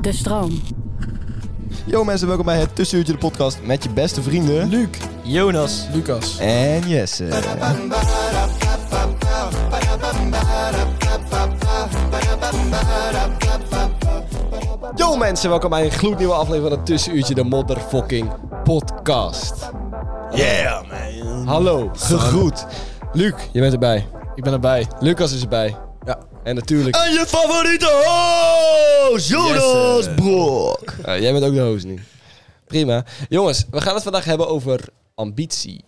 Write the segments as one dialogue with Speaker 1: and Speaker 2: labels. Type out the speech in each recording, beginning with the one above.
Speaker 1: De stroom.
Speaker 2: Yo mensen, welkom bij het Tussenuurtje de podcast met je beste vrienden... Luc, Jonas
Speaker 3: Lucas.
Speaker 2: en Jesse. Yo mensen, welkom bij een gloednieuwe aflevering van het Tussenuurtje de motherfucking podcast.
Speaker 3: Yeah, man.
Speaker 2: Hallo, gegroet. Luc, je bent erbij.
Speaker 3: Ik ben erbij.
Speaker 2: Lucas is erbij.
Speaker 3: Ja.
Speaker 2: En natuurlijk...
Speaker 3: En je favoriete host, Jonas
Speaker 2: Yes,
Speaker 3: Brok.
Speaker 2: Eh, jij bent ook de host nu. Prima. Jongens, we gaan het vandaag hebben over ambitie.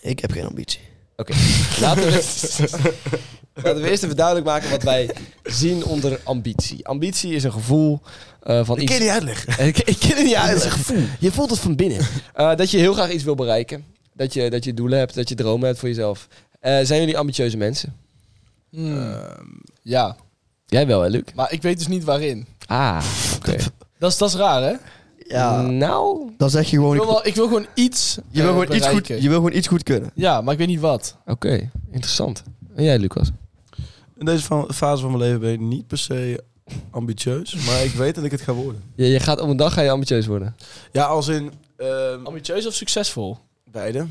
Speaker 3: Ik heb geen ambitie.
Speaker 2: Oké, laten, we, laten we eerst even duidelijk maken wat wij zien onder ambitie. Ambitie is een gevoel eh, van
Speaker 3: Ik
Speaker 2: iets...
Speaker 3: kan je niet uitleggen.
Speaker 2: Eh, Ik, ik ken het niet uit.
Speaker 3: is een gevoel.
Speaker 2: Je voelt het van binnen. Eh, dat je heel graag iets wil bereiken. Dat je, dat je doelen hebt, dat je dromen hebt voor jezelf. Eh, zijn jullie ambitieuze mensen?
Speaker 4: Ehm,
Speaker 5: Ja,
Speaker 2: Jij wel, hè, Luc?
Speaker 5: maar ik weet dus niet waarin.
Speaker 2: Ah, oké.
Speaker 5: Dat is, dat is raar, hè?
Speaker 3: Ja,
Speaker 2: Nou,
Speaker 3: dan zeg je gewoon...
Speaker 5: Ik wil,
Speaker 3: Ik,
Speaker 5: wel, ik wil gewoon iets
Speaker 3: je, wil
Speaker 5: eh,
Speaker 3: gewoon iets goed,
Speaker 5: bereiken.
Speaker 3: je wil gewoon iets goed kunnen.
Speaker 5: Ja, maar ik weet niet wat.
Speaker 2: oké. Interessant. En jij, Lucas?
Speaker 4: In deze fa- fase van mijn leven ben ik niet per se ambitieus, maar ik weet dat ik het ga worden.
Speaker 2: Je, je gaat op een dag ga je ambitieus worden.
Speaker 4: Ja, als in ehm,
Speaker 5: Ambitieus of succesvol?
Speaker 4: beide.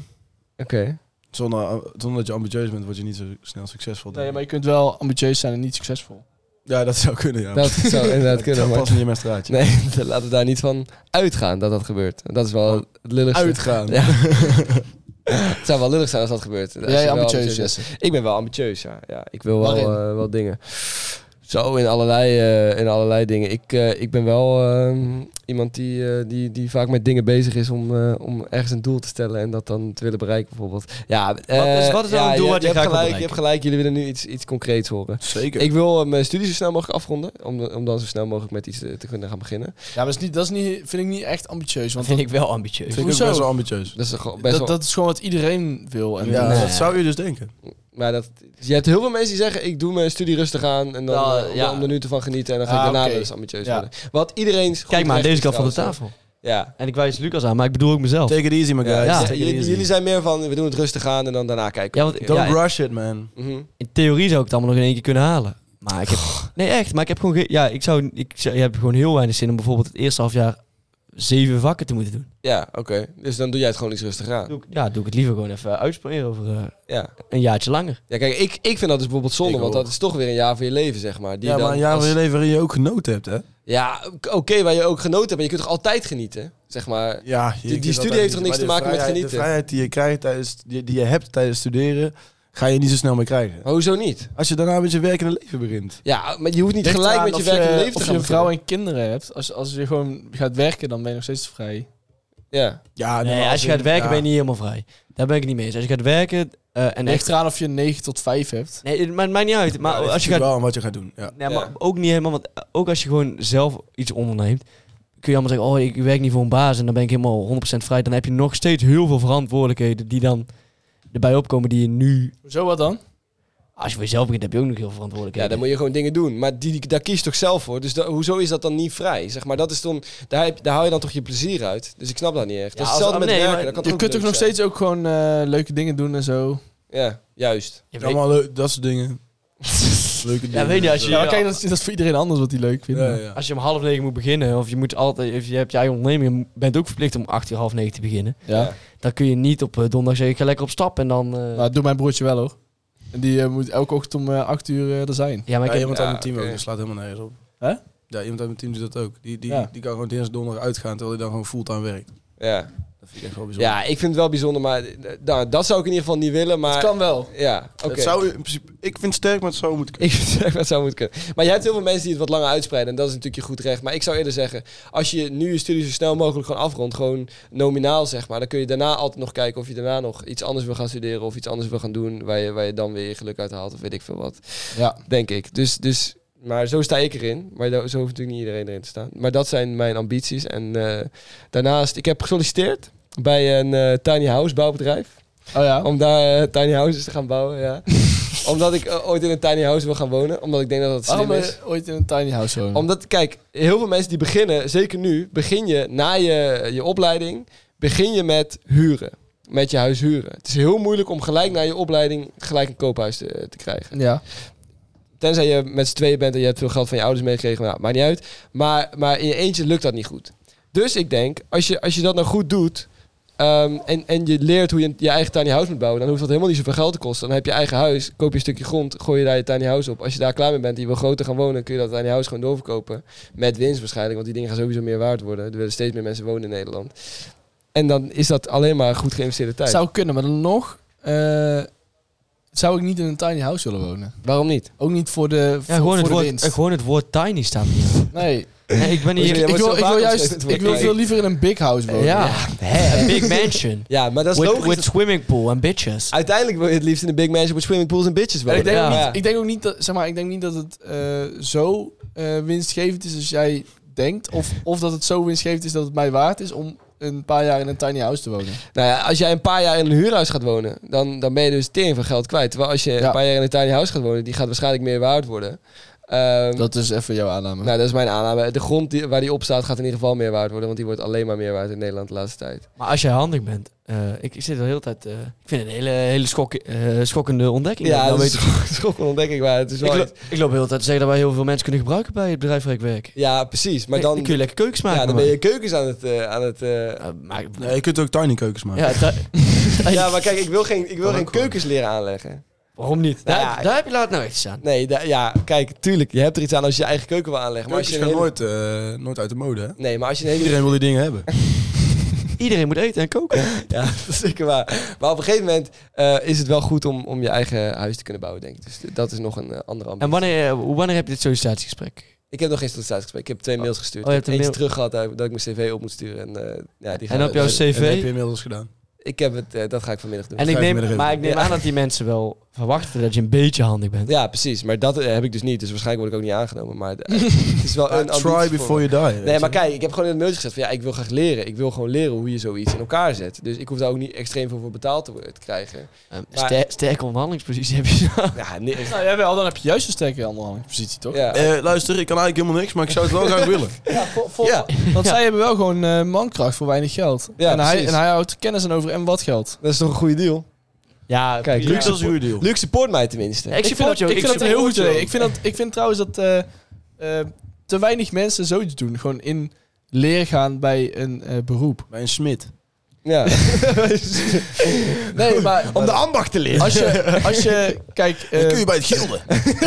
Speaker 2: Oké.
Speaker 4: Zonder, eh, zonder dat je ambitieus bent, word je niet zo snel succesvol. denk
Speaker 5: Nee,
Speaker 4: ik.
Speaker 5: maar je kunt wel ambitieus zijn en niet succesvol.
Speaker 4: Ja, dat zou kunnen, ja.
Speaker 2: Dat zou inderdaad kunnen.
Speaker 4: Dat
Speaker 2: Maar...
Speaker 4: past niet in mijn straatje.
Speaker 2: Nee, laten we daar niet van uitgaan dat dat gebeurt. Dat is wel het lulligste.
Speaker 5: Uitgaan.
Speaker 2: Ja. het zou wel lullig zijn als dat gebeurt. Als
Speaker 5: Ben
Speaker 2: je
Speaker 5: jij
Speaker 2: wel
Speaker 5: ambitieus,
Speaker 2: bent.
Speaker 5: Jesse?
Speaker 2: Ik ben wel ambitieus, ja. ja ik wil wel,
Speaker 5: Waarin?
Speaker 2: eh, wel dingen. Zo, in allerlei, eh, in allerlei dingen. Ik, eh, ik ben wel ehm, iemand die, eh, die, die vaak met dingen bezig is om, eh, om ergens een doel te stellen en dat dan te willen bereiken, bijvoorbeeld. Ja, eh,
Speaker 4: is- wat is dan
Speaker 2: ja,
Speaker 4: een doel
Speaker 2: je,
Speaker 4: wat
Speaker 2: je
Speaker 4: je
Speaker 2: hebt
Speaker 4: graag wil
Speaker 2: gelijk, Je hebt gelijk, jullie willen nu iets, iets concreets horen.
Speaker 4: Zeker.
Speaker 2: Ik wil eh, mijn studie zo snel mogelijk afronden, om, om dan zo snel mogelijk met iets eh, te kunnen gaan beginnen.
Speaker 5: Ja, maar dat, is niet, dat is niet, vind ik niet echt ambitieus. Want
Speaker 3: vind ik wel ambitieus.
Speaker 4: vind ik ook
Speaker 5: hoezo?
Speaker 4: best wel ambitieus.
Speaker 2: Dat is gewoon best
Speaker 5: dat,
Speaker 2: wel...
Speaker 5: dat is gewoon wat iedereen wil. En
Speaker 4: Ja,
Speaker 5: Nee.
Speaker 4: dat zou je dus denken.
Speaker 2: Maar dat, je hebt heel veel mensen die zeggen, ik doe mijn studie rustig aan en dan
Speaker 5: Ja,
Speaker 2: eh, om,
Speaker 5: Nou, ja.
Speaker 2: om er nu te van genieten en dan ga ik
Speaker 5: Ah,
Speaker 2: daarna
Speaker 5: oké.
Speaker 2: wel eens ambitieus
Speaker 5: Ja.
Speaker 2: worden. Wat iedereen goed
Speaker 3: Kijk maar aan
Speaker 2: recht
Speaker 3: deze
Speaker 2: is
Speaker 3: kant van de
Speaker 2: trouwens,
Speaker 3: tafel.
Speaker 2: hè. Ja.
Speaker 3: En ik wijs Lucas aan, maar ik bedoel ook mezelf.
Speaker 4: Take it easy, my guys.
Speaker 2: Ja,
Speaker 3: Ja.
Speaker 2: jullie- jullie, jullie zijn meer van, we doen het rustig aan en dan daarna kijken.
Speaker 3: Ja,
Speaker 2: we
Speaker 3: want
Speaker 2: het
Speaker 3: ja,
Speaker 4: Don't rush it, man.
Speaker 2: Mhm.
Speaker 3: in theorie zou ik het allemaal nog in één keer kunnen halen. Maar ik heb... Nee, echt. Maar ik heb gewoon... ge- Ja, ik zou... Ik, zou- ik heb gewoon heel weinig zin om bijvoorbeeld het eerste half jaar zeven vakken te moeten doen.
Speaker 2: Ja, oké. Dus dan doe jij het gewoon iets rustig aan.
Speaker 3: Doe ik- ja, doe ik het liever gewoon even uitspringen over eh,
Speaker 2: Ja.
Speaker 3: een jaartje langer.
Speaker 2: ja, kijk, ik, ik vind dat dus bijvoorbeeld zonde,
Speaker 4: Ik
Speaker 2: want
Speaker 4: ook.
Speaker 2: dat is toch weer een jaar van je leven, zeg maar. Die
Speaker 4: Ja,
Speaker 2: dan
Speaker 4: maar een jaar
Speaker 2: als-
Speaker 4: van je leven waarin je ook genoten hebt, hè?
Speaker 2: Ja, oké, waar je ook genoten hebt, maar je kunt toch altijd genieten, zeg maar.
Speaker 4: Ja,
Speaker 2: Die- die studie heeft toch niks te maken met genieten?
Speaker 4: De vrijheid die je, krijgt tijdens, die, die je hebt tijdens studeren, ga je niet zo snel meer krijgen.
Speaker 2: Maar hoezo niet?
Speaker 4: Als je daarna met je werkende leven begint.
Speaker 2: Ja, maar je hoeft niet
Speaker 5: Ligt
Speaker 2: gelijk
Speaker 5: eraan
Speaker 2: met je
Speaker 5: of
Speaker 2: werk en leven te
Speaker 5: Eh, Of
Speaker 2: gaan
Speaker 5: je een
Speaker 2: beginnen.
Speaker 5: vrouw en kinderen hebt. Als, als je gewoon gaat werken, dan ben je nog steeds vrij.
Speaker 2: Ja,
Speaker 4: Ja,
Speaker 3: Nee, als je gaat werken ben je niet helemaal vrij. Daar ben ik het niet mee eens. Als je gaat werken eh, en echt...
Speaker 5: Ligt eraan of je 9 tot 5 hebt.
Speaker 3: Nee, het maakt, maakt niet uit. Maar als je gaat
Speaker 4: wel aan wat je gaat doen. Ja.
Speaker 3: Nee,
Speaker 2: Ja.
Speaker 3: maar ook niet helemaal. Want ook als je gewoon zelf iets onderneemt, kun je allemaal zeggen: Oh, ik werk niet voor een baas en dan ben ik helemaal 100% vrij. Dan heb je nog steeds heel veel verantwoordelijkheden die dan erbij opkomen die je nu.
Speaker 5: Hoezo wat dan?
Speaker 3: Als je voor jezelf begint, heb je ook nog heel veel
Speaker 2: ja,
Speaker 3: verantwoordelijkheden.
Speaker 2: dan moet je gewoon dingen doen. Maar die, die- daar kies je toch zelf voor? Dus da- hoezo is dat dan niet vrij? Zeg maar, dat is dan, daar, heb, daar haal je dan toch je plezier uit? Dus ik snap dat niet echt. dat is
Speaker 3: als-
Speaker 2: hetzelfde met
Speaker 3: nee,
Speaker 2: werken.
Speaker 3: maar
Speaker 2: dat kan
Speaker 5: Je
Speaker 2: ook
Speaker 5: kunt toch
Speaker 2: leuk
Speaker 5: nog
Speaker 2: zijn?
Speaker 5: steeds ook gewoon eh, leuke dingen doen en zo.
Speaker 2: Ja, juist.
Speaker 3: Ja, weet-
Speaker 4: Allemaal leuk, dat soort dingen. Leuke dingen. dus, eh,
Speaker 3: Ja, weet je, als je,
Speaker 5: Ja, maar kijk, dat is, dat is voor iedereen anders wat hij leuk vindt.
Speaker 4: Ja, ja.
Speaker 3: als je om half negen moet beginnen, of je moet altijd, of je hebt je eigen onderneming, je bent ook verplicht om acht uur half negen te beginnen.
Speaker 5: Ja.
Speaker 2: Ja.
Speaker 3: Dan kun je niet op eh, donderdag zeggen: Ik ga lekker op stap en dan. eh,
Speaker 5: Maar doe mijn broertje wel hoor. En die eh, moet elke ochtend om eh, 8 uur eh, er zijn.
Speaker 3: ja, maar
Speaker 4: Ja,
Speaker 3: ik heb-
Speaker 4: iemand
Speaker 2: Ja,
Speaker 4: aan het team
Speaker 2: oké.
Speaker 4: ook, dat slaat helemaal nergens op. Ja, iemand uit mijn team doet dat ook. Die, die,
Speaker 5: Ja.
Speaker 4: die kan gewoon dinsdag donderdag uitgaan terwijl hij dan gewoon fulltime werkt.
Speaker 2: Ja.
Speaker 4: Dat vind ik echt wel bijzonder.
Speaker 2: ja, ik vind het wel bijzonder, maar nou, dat zou ik in ieder geval niet willen. Maar
Speaker 5: Het kan wel.
Speaker 2: Ja, oké.
Speaker 4: Het zou in principe, ik vind het sterk, maar het zou moeten kunnen.
Speaker 2: Ik zeg dat zou moeten kunnen. Maar je hebt heel veel mensen die het wat langer uitspreiden. En dat is natuurlijk je goed recht. Maar ik zou eerder zeggen, als je nu je studie zo snel mogelijk gewoon afrondt, gewoon nominaal zeg maar, dan kun je daarna altijd nog kijken of je daarna nog iets anders wil gaan studeren of iets anders wil gaan doen waar je, waar je dan weer je geluk uit haalt of weet ik veel wat.
Speaker 5: Ja.
Speaker 2: Denk ik. Dus, dus, maar zo sta ik erin. Maar da- zo hoeft natuurlijk niet iedereen erin te staan. Maar dat zijn mijn ambities. En eh, daarnaast, ik heb gesolliciteerd bij een eh, tiny house bouwbedrijf.
Speaker 5: Oh ja.
Speaker 2: Om daar eh, tiny houses te gaan bouwen, ja. Omdat ik eh, ooit in een tiny house wil gaan wonen. Omdat ik denk dat dat slim
Speaker 5: Waarom
Speaker 2: is.
Speaker 5: eh, ooit in een tiny house wonen?
Speaker 2: Omdat, kijk, heel veel mensen die beginnen, zeker nu, begin je na je, je opleiding, begin je met huren. Met je huis huren. Het is heel moeilijk om gelijk na je opleiding gelijk een koophuis te, te krijgen.
Speaker 5: Ja.
Speaker 2: Tenzij je met z'n tweeën bent en je hebt veel geld van je ouders meegekregen. Nou, maakt niet uit. Maar, maar in je eentje lukt dat niet goed. Dus ik denk, als je, als je dat nou goed doet... ehm, en, en je leert hoe je je eigen tiny house moet bouwen... dan hoeft dat helemaal niet zoveel geld te kosten. Dan heb je eigen huis, koop je een stukje grond... gooi je daar je tiny house op. Als je daar klaar mee bent en je wil groter gaan wonen... kun je dat tiny house gewoon doorverkopen. Met winst waarschijnlijk, want die dingen gaan sowieso meer waard worden. Er willen steeds meer mensen wonen in Nederland. En dan is dat alleen maar goed geïnvesteerde tijd.
Speaker 5: Zou kunnen, maar dan nog... eh, zou ik niet in een tiny house willen wonen.
Speaker 2: Waarom niet?
Speaker 5: Ook niet voor de, voor,
Speaker 3: Ja, gewoon,
Speaker 5: voor
Speaker 3: het
Speaker 5: de
Speaker 3: woord,
Speaker 5: winst.
Speaker 3: eh, gewoon het woord tiny staat hier.
Speaker 5: nee,
Speaker 3: Nee, ik ben
Speaker 2: Hoezo, jij
Speaker 3: hier...
Speaker 5: ik
Speaker 2: wordt zo
Speaker 5: wil, ik
Speaker 2: vaak
Speaker 5: wil
Speaker 2: omschreven,
Speaker 5: juist...
Speaker 2: het
Speaker 5: Ik
Speaker 2: wordt
Speaker 5: wil
Speaker 2: klein.
Speaker 5: veel liever in een big house wonen.
Speaker 3: Ja, hè, een big mansion.
Speaker 2: Ja, maar dat is
Speaker 3: With,
Speaker 2: logisch.
Speaker 3: with swimming pool en bitches.
Speaker 2: Uiteindelijk wil je het liefst in een big mansion... with swimming pools en bitches
Speaker 5: En
Speaker 2: wonen.
Speaker 5: ik, denk
Speaker 3: Ja.
Speaker 5: ook niet, ik denk ook niet dat, zeg maar, ik denk niet dat het eh, zo eh, winstgevend is als jij denkt. Of, of dat het zo winstgevend is dat het mij waard is om een paar jaar in een tiny house te wonen.
Speaker 2: Nou ja, als jij een paar jaar in een huurhuis gaat wonen, dan, dan ben je dus tering van geld kwijt. Terwijl als je
Speaker 5: Ja.
Speaker 2: een paar jaar in een tiny house gaat wonen, die gaat waarschijnlijk meer waard worden. Ehm,
Speaker 5: Dat is even jouw aanname.
Speaker 2: nou, dat is mijn aanname. De grond die, waar die op staat gaat in ieder geval meer waard worden, want die wordt alleen maar meer waard in Nederland de laatste tijd.
Speaker 3: Maar als jij handig bent... eh, ik, ik zit al de hele tijd... eh, ik vind het een hele, hele schok, eh, schokkende ontdekking.
Speaker 2: Ja,
Speaker 3: Nou
Speaker 2: dat is
Speaker 3: weet
Speaker 2: een schokkende ontdekking, maar het is
Speaker 3: ik,
Speaker 2: wel...
Speaker 3: lo-
Speaker 2: iets-
Speaker 3: ik loop heel de tijd te zeggen dat wij heel veel mensen kunnen gebruiken bij het bedrijf waar ik werk.
Speaker 2: Ja, precies. Maar
Speaker 3: Nee,
Speaker 2: dan,
Speaker 3: kun je lekker keukens maken.
Speaker 2: ja, dan
Speaker 3: maar.
Speaker 2: ben je keukens aan het... eh, aan het eh,
Speaker 3: Eh, maar-
Speaker 4: Nee, je kunt ook tiny keukens maken.
Speaker 3: ja, da-
Speaker 2: ja, maar kijk, ik wil geen, ik wil
Speaker 4: Kan
Speaker 2: geen
Speaker 4: ook gewoon.
Speaker 2: keukens leren aanleggen.
Speaker 3: waarom niet? Daar,
Speaker 2: Nou ja,
Speaker 3: daar heb je laat nou echt iets aan.
Speaker 2: Nee, da- ja, kijk, tuurlijk, je hebt er iets aan als je je eigen keuken wil aanleggen. Maar als
Speaker 4: Keukens
Speaker 2: je een
Speaker 4: gaan
Speaker 2: hele-
Speaker 4: nooit, eh, nooit uit de mode, hè?
Speaker 2: Nee, maar als je een hele
Speaker 4: Iedereen wil die dingen hebben.
Speaker 3: Iedereen moet eten en koken.
Speaker 2: Ja, dat is zeker waar. Maar op een gegeven moment eh, is het wel goed om, om je eigen huis te kunnen bouwen, denk ik. Dus dat is nog een eh, andere ambitie.
Speaker 3: En wanneer, eh, wanneer heb je dit sollicitatiegesprek?
Speaker 2: Ik heb nog geen sollicitatiegesprek. Ik heb twee mails gestuurd.
Speaker 3: Oh, je
Speaker 2: ik heb
Speaker 3: hebt
Speaker 2: eentje
Speaker 3: een
Speaker 2: terug gehad dat dat ik mijn cv op moet sturen. En, eh, ja, die
Speaker 3: En
Speaker 2: gaan-
Speaker 3: op jouw
Speaker 2: dat-
Speaker 3: cv?
Speaker 4: En dat heb je inmiddels gedaan.
Speaker 2: Ik heb het, eh, dat ga ik vanmiddag doen.
Speaker 3: En ik
Speaker 4: Vijf
Speaker 3: neem,
Speaker 4: middag
Speaker 3: maar ik neem
Speaker 2: Ja.
Speaker 3: aan dat die mensen wel verwachten dat je een beetje handig bent.
Speaker 2: Ja, precies. Maar dat eh, heb ik dus niet. Dus waarschijnlijk word ik ook niet aangenomen. Maar eh, het is wel een ambitie
Speaker 4: Try
Speaker 2: voor me.
Speaker 4: before you die.
Speaker 2: Nee, maar kijk, ik heb gewoon in het mailtje gezegd van ja, ik wil graag leren. Ik wil gewoon leren hoe je zoiets in elkaar zet. Dus ik hoef daar ook niet extreem veel voor betaald te, worden- te krijgen.
Speaker 3: Eh,
Speaker 2: Maar-
Speaker 3: ster- sterke onderhandelingspositie heb je.
Speaker 2: Ja, nee,
Speaker 5: Nou, ja, wel, dan heb je juist een sterke onderhandelingspositie, toch?
Speaker 2: ja.
Speaker 4: Eh, luister, ik kan eigenlijk helemaal niks, maar ik zou het wel graag willen.
Speaker 5: Ja, voor, voor-
Speaker 2: Ja.
Speaker 5: Want zij hebben wel gewoon eh, mankracht voor weinig geld.
Speaker 2: Ja,
Speaker 5: en, hij,
Speaker 2: precies.
Speaker 5: en hij houdt kennis aan over en wat geld.
Speaker 2: dat is toch een goede deal?
Speaker 3: Ja,
Speaker 2: Kijk,
Speaker 3: prima.
Speaker 4: Luxe, dat is een goede deal.
Speaker 2: Luc support mij tenminste.
Speaker 3: Ik
Speaker 5: vind dat,
Speaker 3: support jou,
Speaker 5: ik
Speaker 3: ik
Speaker 5: vind dat een heel
Speaker 3: support
Speaker 5: goed idee.
Speaker 3: jou.
Speaker 5: Ik vind, dat, ik vind trouwens dat eh, eh, te weinig mensen zoiets doen. Gewoon in leer gaan bij een eh, beroep.
Speaker 4: Bij een smid.
Speaker 2: Ja.
Speaker 5: Nee, maar
Speaker 2: Om de ambacht te leren. Eh,
Speaker 5: als je, als je kijk, eh,
Speaker 4: Dan kun je bij het gilde.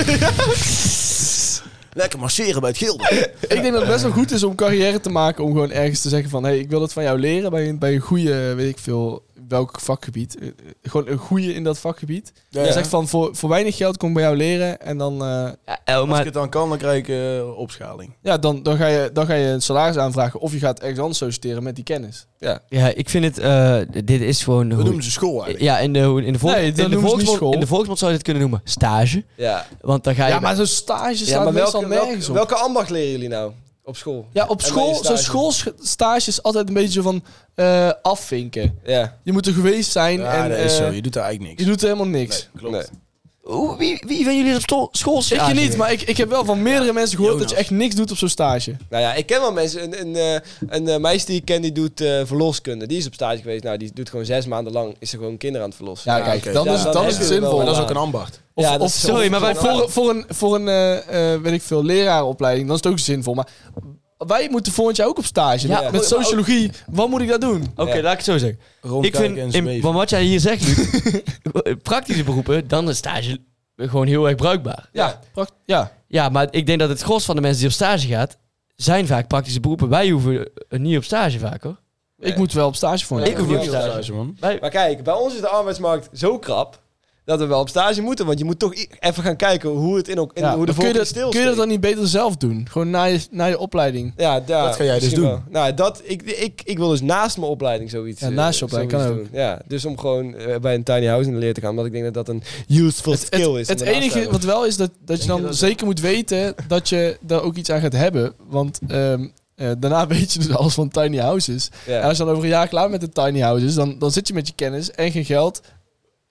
Speaker 4: Lekker masseren bij het gilde.
Speaker 5: ik denk dat het best wel goed is om carrière te maken. Om gewoon ergens te zeggen van, hey, ik wil het van jou leren bij een, bij een goede, weet ik veel, welk vakgebied. Eh, eh, gewoon een goede in dat vakgebied.
Speaker 4: Ja,
Speaker 5: Je zegt van, voor, voor weinig geld kom ik bij jou leren. En dan, eh,
Speaker 3: Ja, El,
Speaker 4: Als ik
Speaker 3: maar
Speaker 4: het dan kan, dan krijg ik eh, opschaling.
Speaker 5: ja, dan, dan, ga je, dan ga je een salaris aanvragen. Of je gaat ergens anders solliciteren met die kennis.
Speaker 3: ja, ik vind het. eh, dit is gewoon.
Speaker 4: We
Speaker 3: hoe-
Speaker 4: noemen ze school eigenlijk.
Speaker 3: ja, in de, hoe- in de, volks-
Speaker 5: Nee, dat
Speaker 3: in de
Speaker 5: noemen ze niet
Speaker 3: volksmond,
Speaker 5: school.
Speaker 3: in de volksmond zou je dit kunnen noemen stage.
Speaker 2: ja.
Speaker 3: Want dan ga je.
Speaker 5: Ja, maar zo'n stage staat
Speaker 2: ja, maar
Speaker 5: meestal
Speaker 2: welke,
Speaker 5: nergens
Speaker 2: welke,
Speaker 5: op.
Speaker 2: welke ambacht leren jullie nou op school?
Speaker 5: ja, op
Speaker 2: en
Speaker 5: school,
Speaker 2: bij je
Speaker 5: zo'n
Speaker 2: stage?
Speaker 5: schoolstage is altijd een beetje zo van eh, afvinken.
Speaker 2: Ja.
Speaker 5: Je moet er geweest zijn
Speaker 4: Ja,
Speaker 5: en
Speaker 4: dat is
Speaker 5: eh,
Speaker 4: zo. Je doet daar eigenlijk
Speaker 5: je
Speaker 4: niks.
Speaker 5: doet helemaal niks.
Speaker 4: Nee, klopt.
Speaker 2: Nee.
Speaker 3: Hoe- wie, wie van jullie is op sto- school
Speaker 5: Ik
Speaker 3: stage?
Speaker 5: je niet, maar ik, ik heb wel van meerdere mensen gehoord dat je
Speaker 4: Jonas.
Speaker 5: echt niks doet op zo'n stage.
Speaker 2: Nou ja, ik ken wel mensen. Een, een, eh, een eh, meisje die ik ken, die doet eh, verloskunde. Die is op stage geweest. Nou, die doet gewoon zes maanden lang. Is ze gewoon kinderen aan het verlossen.
Speaker 4: Ja, kijk, dan
Speaker 2: is- dan is het zinvol.
Speaker 4: Maar dat is ook een ambacht.
Speaker 5: Of,
Speaker 2: Ja, dat
Speaker 5: of
Speaker 2: is-
Speaker 3: Sorry, maar wij volgen.
Speaker 5: voor, voor een, voor een eh, eh, weet ik veel, lerarenopleiding, dan is het ook zinvol. Maar wij moeten volgend jaar ook op stage.
Speaker 3: Ja,
Speaker 5: met,
Speaker 3: maar
Speaker 5: met
Speaker 3: ook-
Speaker 5: sociologie, wat moet ik daar doen?
Speaker 3: Oké,
Speaker 2: Ja.
Speaker 3: laat ik het zo zeggen. Ik
Speaker 4: Rondkijken en
Speaker 3: vind, in,
Speaker 4: zweven.
Speaker 3: van wat jij hier zegt, Luc, praktische beroepen, dan is stage gewoon heel erg bruikbaar.
Speaker 5: Ja, pracht- ja.
Speaker 3: Ja, maar ik denk dat het gros van de mensen die op stage gaat, zijn vaak praktische beroepen. Wij hoeven eh, niet op stage vaak hoor.
Speaker 5: Ik moet wel op stage voor.
Speaker 2: Ik hoef niet op
Speaker 4: Ja,
Speaker 2: stage.
Speaker 4: stage, man.
Speaker 3: Wij,
Speaker 2: Maar kijk, bij ons is de arbeidsmarkt zo krap dat we wel op stage moeten. Want je moet toch i- even gaan kijken hoe het in, elk- in
Speaker 5: Ja,
Speaker 2: hoe de
Speaker 5: maar kun, je
Speaker 2: volgende
Speaker 5: dat,
Speaker 2: stil
Speaker 5: kun je dat dan niet beter zelf doen? Gewoon na je, na je opleiding.
Speaker 2: Ja, daar,
Speaker 4: Dat ga jij dus
Speaker 2: misschien
Speaker 4: doen.
Speaker 2: wel. Nou, dat, ik, ik, ik wil dus naast mijn opleiding zoiets.
Speaker 5: Ja,
Speaker 2: eh,
Speaker 5: naast je opleiding
Speaker 2: zoiets
Speaker 5: kan ook.
Speaker 2: doen. Ja, dus om gewoon eh, bij een tiny house in de leer te gaan. Omdat ik denk dat dat een useful
Speaker 5: Het,
Speaker 2: skill is.
Speaker 5: het, het
Speaker 2: om daarnaast te
Speaker 5: enige
Speaker 2: hebben.
Speaker 5: wat wel is, dat, dat je dan zeker moet weten dat je daar ook iets aan gaat hebben. Want ehm, eh, daarna weet je dus alles van tiny houses. En
Speaker 2: Ja,
Speaker 5: als je dan over een jaar klaar met de tiny houses, dan, dan zit je met je kennis en geen geld.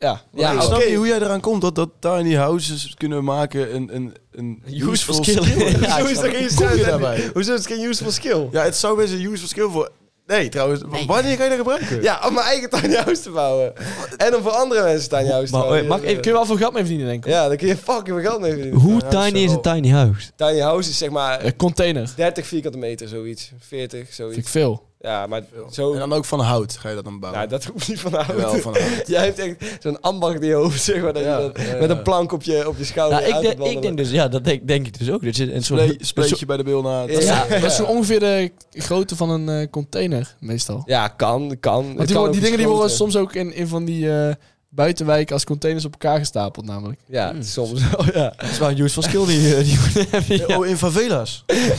Speaker 5: Ja,
Speaker 2: ja,
Speaker 4: ik
Speaker 2: oké.
Speaker 4: snap niet hoe jij eraan komt dat, dat tiny houses kunnen maken een, een, een
Speaker 3: Useful skill. Ja,
Speaker 2: Hoezo
Speaker 4: ik
Speaker 2: is er geen
Speaker 4: snap het. Hoe kom je
Speaker 2: zin-
Speaker 4: daarbij?
Speaker 2: Hoezo is het geen useful skill?
Speaker 4: Ja, het zou best een useful skill voor... Nee, trouwens. Wanneer ga je dat gebruiken?
Speaker 2: Ja, om mijn eigen tiny house te bouwen. En om voor andere mensen tiny house te
Speaker 3: Maar,
Speaker 2: bouwen.
Speaker 3: eh, mag ik even-
Speaker 5: kun je wel veel geld mee verdienen, denk ik.
Speaker 2: Ja, dan kun je fucking veel geld mee verdienen.
Speaker 3: hoe
Speaker 4: Ja,
Speaker 3: tiny
Speaker 4: zo.
Speaker 3: is een tiny house?
Speaker 2: Tiny house is zeg maar
Speaker 5: Eh, container,
Speaker 2: 30 vierkante meter, zoiets. 40,
Speaker 5: vind ik
Speaker 2: zoiets.
Speaker 5: veel.
Speaker 2: Ja, maar
Speaker 4: En
Speaker 2: zo...
Speaker 4: dan ook van hout ga je dat dan bouwen.
Speaker 2: Nou, dat hoeft niet van hout.
Speaker 4: Jawel, van hout.
Speaker 2: Jij hebt echt zo'n ambacht in je hoofd, zeg maar. Dat
Speaker 4: Ja,
Speaker 2: je dat,
Speaker 4: ja,
Speaker 2: Met
Speaker 4: ja.
Speaker 2: een plank op je, op je schouder
Speaker 3: Nou, ik,
Speaker 2: uit
Speaker 3: denk,
Speaker 2: te
Speaker 3: ik denk
Speaker 2: wandelen.
Speaker 3: dus, ja, dat denk, denk ik dus ook. Dat je een soort,
Speaker 4: Splee-
Speaker 3: een soort-
Speaker 4: Spleetje bij de bil na.
Speaker 2: Ja.
Speaker 5: Ja. Dat is zo ongeveer de grootte van een eh, container, meestal.
Speaker 2: Ja, kan, kan. Het
Speaker 5: Want die,
Speaker 2: kan
Speaker 5: wo-
Speaker 2: ook
Speaker 5: die dingen
Speaker 2: verschoten.
Speaker 5: die worden soms ook in, in van die eh, buitenwijken als containers op elkaar gestapeld, namelijk.
Speaker 2: Ja,
Speaker 3: Hmm.
Speaker 2: soms wel, ja.
Speaker 3: dat is wel een useful skill die, eh, die we hebben. ja.
Speaker 4: Oh, in favela's.
Speaker 5: Jesse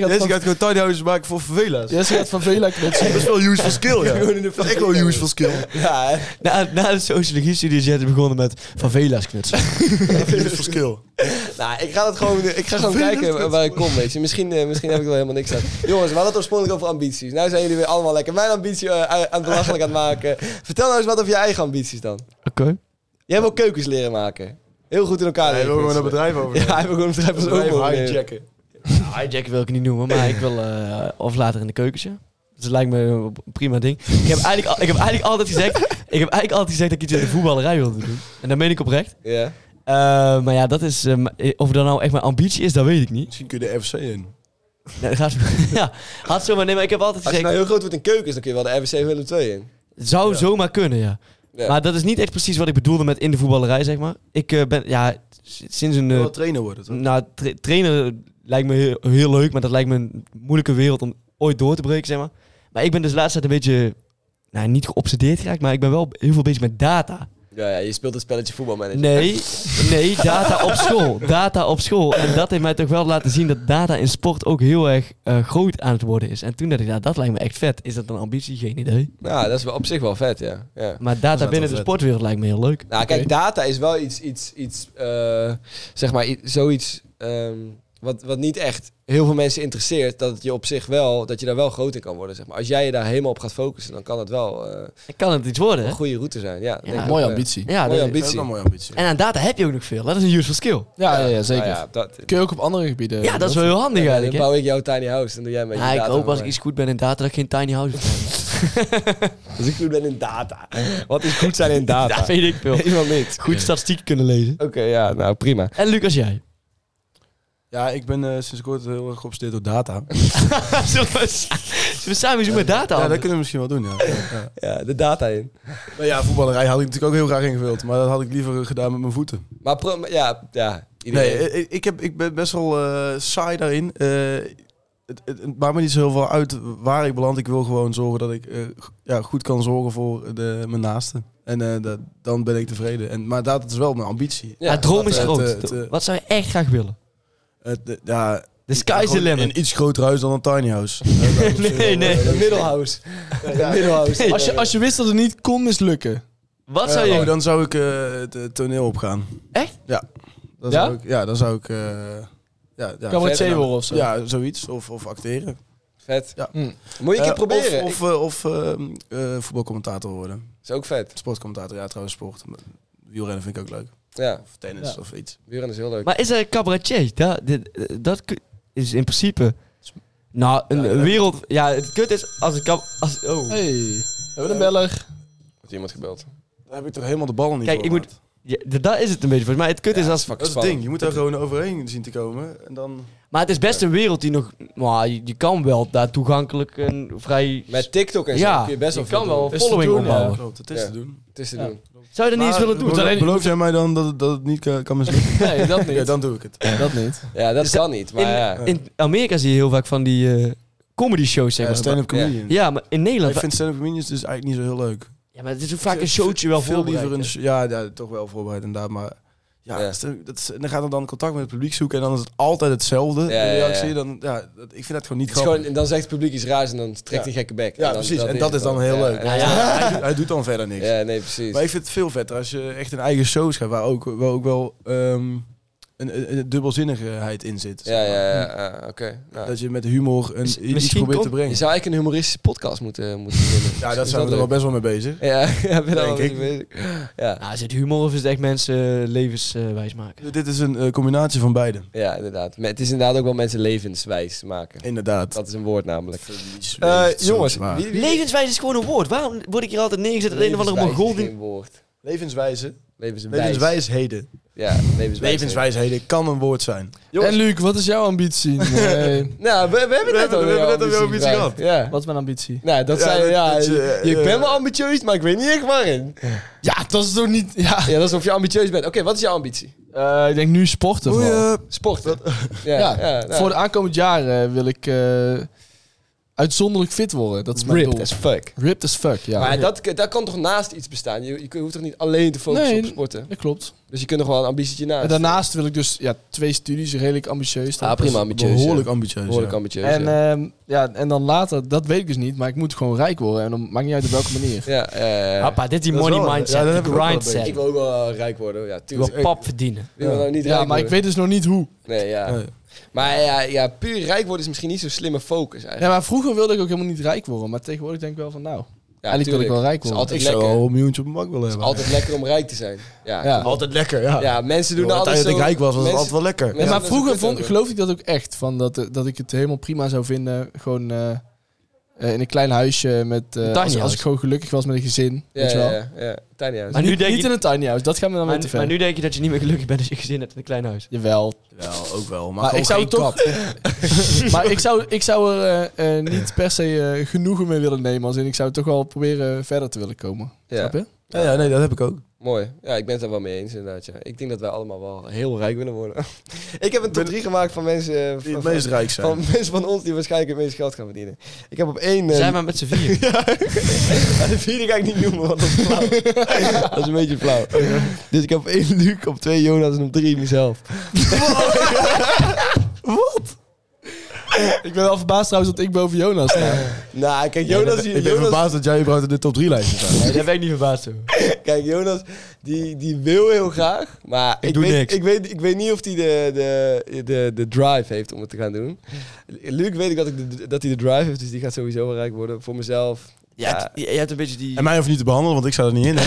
Speaker 5: gaat,
Speaker 4: Deze
Speaker 5: van,
Speaker 4: gaat gewoon tiny houses maken voor favela's.
Speaker 5: Jesse gaat van vela knutsen.
Speaker 4: Dat is wel useful skill, ja. Dat is echt wel useful skill.
Speaker 2: Ja,
Speaker 3: Na, na de sociologie-studie is Jette begonnen met favelas knutselen.
Speaker 4: Useful skill.
Speaker 2: Nou, ik ga het gewoon, ik ga gewoon
Speaker 4: Vervelend
Speaker 2: kijken waar,
Speaker 4: met
Speaker 2: waar ik kom, weet je. Misschien, eh, misschien heb ik wel helemaal niks aan. Jongens, we hadden het oorspronkelijk over ambities. Nou zijn jullie weer allemaal lekker mijn ambitie eh, aan aan het belachelijk aan het maken. Vertel nou eens wat over je eigen ambities dan.
Speaker 3: Oké.
Speaker 2: Jij wil keukens leren maken. Heel goed in elkaar
Speaker 4: Hij
Speaker 2: leren.
Speaker 4: wil gewoon een
Speaker 2: knutselen.
Speaker 4: bedrijf over.
Speaker 2: Ja, hij wil gewoon een bedrijf als ook wel leren.
Speaker 4: hijacken.
Speaker 3: Nou, hijacken wil ik niet noemen, maar ik wil eh, of later in de keukentje. Dus dat lijkt me een prima ding. Ik heb eigenlijk, al- ik heb eigenlijk altijd gezegd, ik heb eigenlijk altijd gezegd dat ik iets in de voetballerij wilde doen. En dat meen ik oprecht.
Speaker 2: Ja.
Speaker 3: Eh, maar ja, dat is, eh, m- eh, of dat nou echt mijn ambitie is, dat weet ik niet.
Speaker 4: Misschien kun je de FC in.
Speaker 3: Nee, dat gaat, ja, had zomaar, nee, maar ik heb altijd
Speaker 2: Als je
Speaker 3: gezegd,
Speaker 2: nou heel groot wordt in keukens, dan kun je wel de RWC Willem 2 in.
Speaker 3: zou zomaar kunnen, ja.
Speaker 2: Ja.
Speaker 3: Maar dat is niet echt precies wat ik bedoelde met in de voetballerij, zeg maar. Ik eh, ben, ja, s- sinds een...
Speaker 4: Je
Speaker 3: eh,
Speaker 4: wil wel trainer worden, toch?
Speaker 3: Nou, tra- trainen lijkt me heel, heel leuk, maar dat lijkt me een moeilijke wereld om ooit door te breken, zeg maar. Maar ik ben dus laatst tijd een beetje, nou, niet geobsedeerd geraakt, maar ik ben wel heel veel bezig met data.
Speaker 2: Ja, ja, je speelt een spelletje voetbalmanager.
Speaker 3: Nee, nee, data op school. Data op school. En dat heeft mij toch wel laten zien dat data in sport ook heel erg eh, groot aan het worden is. En toen dacht ik, nou, dat lijkt me echt vet. Is dat een ambitie? Geen idee.
Speaker 2: Nou, dat is wel op zich wel vet, ja. ja.
Speaker 3: Maar data
Speaker 4: wel
Speaker 3: binnen de
Speaker 4: vet.
Speaker 3: sportwereld lijkt me heel leuk.
Speaker 2: Nou, kijk, data is wel iets, iets, iets eh, zeg maar, i- zoiets ehm, wat, wat niet echt heel veel mensen interesseert. Dat het je op zich wel, dat je daar wel groot in kan worden, zeg maar. Als jij je daar helemaal op gaat focussen, dan kan het wel eh,
Speaker 3: Kan het iets worden, hè?
Speaker 2: een goede route zijn. Ja, denk ik
Speaker 5: Mooie
Speaker 2: ook, eh.
Speaker 5: ambitie.
Speaker 3: Ja,
Speaker 2: mooie
Speaker 3: dat-
Speaker 2: ambitie.
Speaker 4: Dat is wel een mooie ambitie.
Speaker 3: En aan data heb je ook nog veel. Dat is een useful skill.
Speaker 5: Ja, ja, ja, zeker.
Speaker 2: Nou ja, dat,
Speaker 5: Kun je ook op andere gebieden.
Speaker 3: Ah, Ja, dat is wel heel handig
Speaker 2: ja, dan
Speaker 3: eigenlijk, hè?
Speaker 2: bouw ik jouw tiny house, dan doe jij met
Speaker 3: Ja,
Speaker 2: je
Speaker 3: ik
Speaker 2: data
Speaker 3: hoop
Speaker 2: voor
Speaker 3: als ik
Speaker 2: mij.
Speaker 3: iets goed ben in data dat ik geen tiny house heb.
Speaker 2: Dus ik goed ben in data. Wat is goed zijn in data?
Speaker 3: Dat weet ik veel.
Speaker 2: Helemaal niet.
Speaker 3: Goed statistiek kunnen lezen.
Speaker 2: Oké, ja, nou prima.
Speaker 3: En Lucas, jij?
Speaker 4: Ja, ik ben eh, sinds kort heel erg geobsedeerd door data.
Speaker 3: Zullen we, zullen we samen iets doen met data?
Speaker 4: Ja, dat
Speaker 3: Anders?
Speaker 4: kunnen we misschien wel doen, ja. ja.
Speaker 2: Ja, de data in.
Speaker 4: Nou ja, voetballerij had ik natuurlijk ook heel graag ingevuld. Maar dat had ik liever gedaan met mijn voeten.
Speaker 2: Maar pro, maar ja, ja.
Speaker 4: Nee,
Speaker 2: Iedereen.
Speaker 4: eh, ik, ik, heb, ik ben best wel eh, saai daarin. Eh, het, het, het maakt me niet zo heel veel uit waar ik beland. Ik wil gewoon zorgen dat ik eh, g- ja, goed kan zorgen voor de, mijn naasten. En eh, dat, dan ben ik tevreden. En, maar dat is wel mijn ambitie.
Speaker 3: Ja, droom is
Speaker 4: het,
Speaker 3: groot.
Speaker 4: eh, het, eh,
Speaker 3: Wat zou je echt graag willen?
Speaker 4: Het, eh, ja,
Speaker 3: The sky is the
Speaker 4: gewoon
Speaker 3: limit.
Speaker 4: Een iets groter huis dan een tiny house.
Speaker 2: eh,
Speaker 3: Nee, nee.
Speaker 2: Een middelhouse. Een middelhouse.
Speaker 5: Als je, als je wist dat het niet kon mislukken.
Speaker 3: Wat zou
Speaker 4: Eh,
Speaker 3: je...
Speaker 4: oh, dan zou ik eh, het eh, toneel opgaan.
Speaker 3: Echt?
Speaker 4: Ja. Dan
Speaker 5: Ja?
Speaker 4: Zou ik, ja, dan zou ik... eh, ja, ja,
Speaker 5: Cabaretier
Speaker 4: verder-
Speaker 5: worden of zo.
Speaker 4: Ja, zoiets. Of, of acteren.
Speaker 2: Vet.
Speaker 4: Ja.
Speaker 5: Hm.
Speaker 2: Moet je een keer
Speaker 4: Eh,
Speaker 2: proberen.
Speaker 4: Of, of, eh, of eh, eh, voetbalcommentator worden.
Speaker 2: Is ook vet.
Speaker 4: Sportcommentator, ja trouwens sport. Maar Wielrennen vind ik ook leuk.
Speaker 2: Ja,
Speaker 4: Of tennis
Speaker 5: Ja.
Speaker 4: of iets.
Speaker 2: wielrennen is heel leuk.
Speaker 3: Maar is er een cabaretier? Dat, dit- eh, dat ku- is in principe... Nou, een
Speaker 4: Ja, ja.
Speaker 3: wereld... Ja, het kut is als een cab... Als, oh.
Speaker 5: Hey, hebben we een beller?
Speaker 2: Wordt iemand gebeld?
Speaker 4: Daar heb ik toch helemaal de ballen niet
Speaker 3: Kijk,
Speaker 4: voor
Speaker 3: ik moet-
Speaker 4: gehad.
Speaker 3: Ja, d- dat is het een beetje volgens mij. Het kut is als...
Speaker 2: fucking
Speaker 4: Dat is het
Speaker 2: spannend.
Speaker 4: ding. Je moet daar gewoon overheen zien te komen. En dan...
Speaker 3: Maar het is best een wereld die nog... Nou, je, je kan wel daar toegankelijk een vrij...
Speaker 2: Met TikTok en zo
Speaker 3: Ja,
Speaker 2: kun je best
Speaker 3: je
Speaker 2: wel
Speaker 3: kan
Speaker 2: veel doen.
Speaker 3: wel
Speaker 2: Het is te
Speaker 3: following
Speaker 2: doen,
Speaker 3: opbouwen.
Speaker 2: ja.
Speaker 4: Klopt, het is
Speaker 2: Ja.
Speaker 4: te doen.
Speaker 2: Het is te
Speaker 5: Ja.
Speaker 2: doen.
Speaker 3: Zou je dat niet eens willen doen?
Speaker 4: beloof-
Speaker 5: Alleen-
Speaker 4: Beloof jij mij dan dat het, dat het niet kan, kan mislukken?
Speaker 5: Nee, dat niet.
Speaker 4: ja, dan doe ik het.
Speaker 5: Dat niet.
Speaker 2: Ja, dat
Speaker 3: Is
Speaker 2: kan niet. Maar
Speaker 3: in-
Speaker 2: ja.
Speaker 3: In Amerika zie je heel vaak van die eh, comedy shows, zeg
Speaker 4: Ja,
Speaker 3: maar.
Speaker 4: Eh, stand-up
Speaker 2: Ja.
Speaker 4: comedian.
Speaker 3: ja, maar in Nederland...
Speaker 4: Ik vind stand-up comedians dus eigenlijk niet zo heel leuk.
Speaker 3: Ja, maar het is ook vaak een showtje wel
Speaker 4: veel liever een
Speaker 3: voorbereid.
Speaker 4: sh- ja, ja, toch wel voorbereid inderdaad, maar ja,
Speaker 2: Ja.
Speaker 4: stand-up- dat is, en dan gaat er dan contact met het publiek zoeken en dan is het altijd hetzelfde.
Speaker 2: ja,
Speaker 4: de reactie,
Speaker 2: ja.
Speaker 4: dan ja, dat- ik vind dat gewoon niet
Speaker 2: Het is
Speaker 4: grappig.
Speaker 2: gewoon, dan zegt het publiek iets raars en dan trekt hij gekke bek. dan-
Speaker 4: ja, precies. en dat is dan heel
Speaker 2: ja,
Speaker 4: leuk.
Speaker 2: Ja,
Speaker 4: Hij, doet, hij doet dan verder niks.
Speaker 2: Ja, nee, precies.
Speaker 4: Maar ik vind het veel vetter als je echt een eigen show schrijft waar ook, waar ook wel ehm, een, een, een dubbelzinnigheid in zit.
Speaker 2: Ja,
Speaker 4: zeg maar.
Speaker 2: ja, ja, ja, oké. Nou.
Speaker 4: Dat je met humor een, iets
Speaker 3: misschien
Speaker 4: probeert
Speaker 3: komt-
Speaker 4: te
Speaker 2: Je
Speaker 4: brengen.
Speaker 2: zou eigenlijk een humoristische podcast moeten, eh, moeten beginnen.
Speaker 4: Ja, daar zijn we er wel
Speaker 2: wel
Speaker 4: best wel mee bezig.
Speaker 2: Ja, ja, ben
Speaker 4: Denk
Speaker 2: al
Speaker 4: ik.
Speaker 2: mee bezig. Ja,
Speaker 3: Nou, is het humor of is het echt mensen eh, levens eh, wijs maken?
Speaker 4: Dit is een eh, combinatie van beide.
Speaker 2: ja, inderdaad. Maar het is inderdaad ook wel mensen levenswijs maken.
Speaker 4: Inderdaad.
Speaker 2: Dat is een woord namelijk.
Speaker 4: Eh,
Speaker 2: jongens,
Speaker 4: zwaar.
Speaker 2: wie, wie-
Speaker 3: Levenswijs is gewoon een woord. Waarom word ik hier altijd neergezet als een of andere
Speaker 2: Levenswijs is
Speaker 3: Mongool die-
Speaker 2: geen woord.
Speaker 4: Levenswijze.
Speaker 2: Levenswijs.
Speaker 4: Levenswijsheden.
Speaker 2: Ja, levenswijs.
Speaker 4: Levenswijsheden kan een woord zijn.
Speaker 5: En Luc, wat is jouw ambitie? Nee.
Speaker 2: Nou, we, we hebben
Speaker 4: We
Speaker 2: het net
Speaker 4: hebben-
Speaker 2: al
Speaker 4: we hebben net
Speaker 2: over ambitie
Speaker 4: al over ambitie
Speaker 2: gehad. Ja.
Speaker 5: Wat is mijn ambitie?
Speaker 2: Nou, dat
Speaker 4: Ja,
Speaker 2: zijn
Speaker 4: dat-
Speaker 2: ja,
Speaker 4: dat je,
Speaker 2: je- ik
Speaker 4: eh,
Speaker 2: ben wel ambitieus, maar ik weet niet echt waarin.
Speaker 5: Ja, dat is toch niet... Ja.
Speaker 2: Ja, dat is of je ambitieus bent. Oké, wat is jouw ambitie?
Speaker 5: Eh, ik denk nu sporten
Speaker 4: Oei,
Speaker 5: vooral.
Speaker 4: eh,
Speaker 2: Sporten. Ja,
Speaker 5: Ja,
Speaker 2: nou.
Speaker 5: Voor de aankomend jaar eh, wil ik eh, uitzonderlijk fit worden. Dat is mijn
Speaker 2: ripped
Speaker 5: doel.
Speaker 2: as fuck.
Speaker 5: Ripped as fuck, ja.
Speaker 2: Maar dat, dat kan toch naast iets bestaan? Je, je hoeft toch niet alleen te focussen
Speaker 5: Nee.
Speaker 2: op sporten?
Speaker 5: dat klopt.
Speaker 2: Dus je kunt nog wel een ambitietje naast.
Speaker 5: En daarnaast wil ik dus ja, twee studies, redelijk ambitieus.
Speaker 2: Ah, prima ambitieus.
Speaker 4: Behoorlijk
Speaker 2: ja.
Speaker 4: ambitieus.
Speaker 2: Behoorlijk
Speaker 4: ja.
Speaker 2: ambitieus.
Speaker 5: dus, En,
Speaker 2: ja.
Speaker 5: ehm, ja, en dan later, dat weet ik dus niet, maar ik moet gewoon rijk worden. En dan maakt niet uit op welke manier.
Speaker 2: ja, eh,
Speaker 3: Papa, dit is die
Speaker 4: Dat is
Speaker 3: money
Speaker 4: wel-
Speaker 3: mindset,
Speaker 4: ja, dat
Speaker 3: die
Speaker 4: heb ik ook wel een
Speaker 3: grindset.
Speaker 4: beetje.
Speaker 2: ik wil ook wel eh, rijk worden. Ja,
Speaker 3: Je wil
Speaker 2: tuurlijk.
Speaker 3: pap verdienen.
Speaker 2: Ik wil nou niet
Speaker 5: Ja,
Speaker 2: rijk
Speaker 5: maar ik
Speaker 2: worden.
Speaker 5: weet dus nog niet hoe.
Speaker 2: Nee, ja.
Speaker 4: Nee.
Speaker 2: Maar ja, ja, puur rijk worden is misschien niet zo'n slimme focus eigenlijk.
Speaker 5: Ja, maar vroeger wilde ik ook helemaal niet rijk worden. Maar tegenwoordig denk ik wel van nou,
Speaker 2: Ja,
Speaker 5: eigenlijk wil ik
Speaker 2: tuurlijk.
Speaker 5: wel rijk
Speaker 2: Het is
Speaker 5: worden.
Speaker 2: altijd
Speaker 4: Ik zou
Speaker 2: lekker.
Speaker 4: wel een miljoentje op mijn bank willen
Speaker 2: Het
Speaker 4: hebben.
Speaker 2: is altijd lekker om rijk te zijn. Ja,
Speaker 5: Ja.
Speaker 2: ja.
Speaker 4: Altijd lekker, ja. ja.
Speaker 2: mensen doen
Speaker 4: de
Speaker 2: altijd
Speaker 4: tijd
Speaker 2: zo...
Speaker 4: dat ik rijk was, was het
Speaker 2: mensen-
Speaker 4: altijd wel lekker.
Speaker 2: mensen-
Speaker 5: Ja, maar
Speaker 2: dat
Speaker 5: vroeger
Speaker 2: het kut
Speaker 5: vond,
Speaker 2: hebben.
Speaker 5: geloof ik dat ook echt. Van dat, eh, dat ik het helemaal prima zou vinden. Gewoon eh, eh, in een klein huisje met. eh,
Speaker 3: tiny
Speaker 5: als, als
Speaker 3: house.
Speaker 5: ik gewoon gelukkig was met een gezin.
Speaker 2: Ja,
Speaker 5: weet je wel.
Speaker 2: ja, ja, ja. Tiny house.
Speaker 3: Maar nu
Speaker 5: niet,
Speaker 3: denk
Speaker 5: niet
Speaker 3: je-
Speaker 5: in een tiny house, dat gaan we dan weer
Speaker 3: Maar,
Speaker 5: te
Speaker 3: maar
Speaker 5: ver.
Speaker 3: nu denk je dat je niet meer gelukkig bent als je gezin hebt in een klein huis.
Speaker 5: Jawel.
Speaker 4: Wel, ook wel. Maar,
Speaker 5: Maar ik zou
Speaker 4: het
Speaker 5: toch. maar ik zou, ik zou er eh, eh, niet per se eh, genoegen mee willen nemen. Als in ik zou toch wel proberen verder te willen komen.
Speaker 2: Ja.
Speaker 5: Snap je?
Speaker 4: Ja, ja, nee, dat heb ik ook.
Speaker 2: Mooi. Ja, ik ben het er wel mee eens inderdaad. Ja. Ik denk dat wij allemaal wel heel rijk willen worden. ik heb een top 3 gemaakt van mensen... eh,
Speaker 4: Die
Speaker 2: van-
Speaker 4: het meest rijk
Speaker 2: van
Speaker 4: zijn.
Speaker 2: mensen van ons die waarschijnlijk het meest geld gaan verdienen. Ik heb op één... eh,
Speaker 3: Zijn maar met z'n vier.
Speaker 2: Ja, de vierde ga ik niet noemen, want dat is flauw. dat is een beetje flauw. Dus ik heb op één Luc, op twee Jonas en op drie mezelf.
Speaker 5: Ik ben wel verbaasd trouwens dat ik boven Jonas sta.
Speaker 2: Nou, kijk, Jonas, die,
Speaker 4: ik ben
Speaker 2: Jonas,
Speaker 4: verbaasd dat jij überhaupt in de top 3 lijst staat.
Speaker 3: Nee, Daar ben ik niet verbaasd over.
Speaker 2: kijk, Jonas die, die wil heel graag, maar ik,
Speaker 3: doe
Speaker 2: weet,
Speaker 3: niks.
Speaker 2: Ik weet, ik weet niet of hij de, de, de, de drive heeft om het te gaan doen. Luc weet ik dat, ik de, dat hij de drive heeft, dus die gaat sowieso wel rijk worden. Voor mezelf.
Speaker 3: Ja,
Speaker 2: Ja.
Speaker 3: het- je, je hebt een beetje die...
Speaker 4: En mij hoeft niet te behandelen, want ik zou er niet in. hè.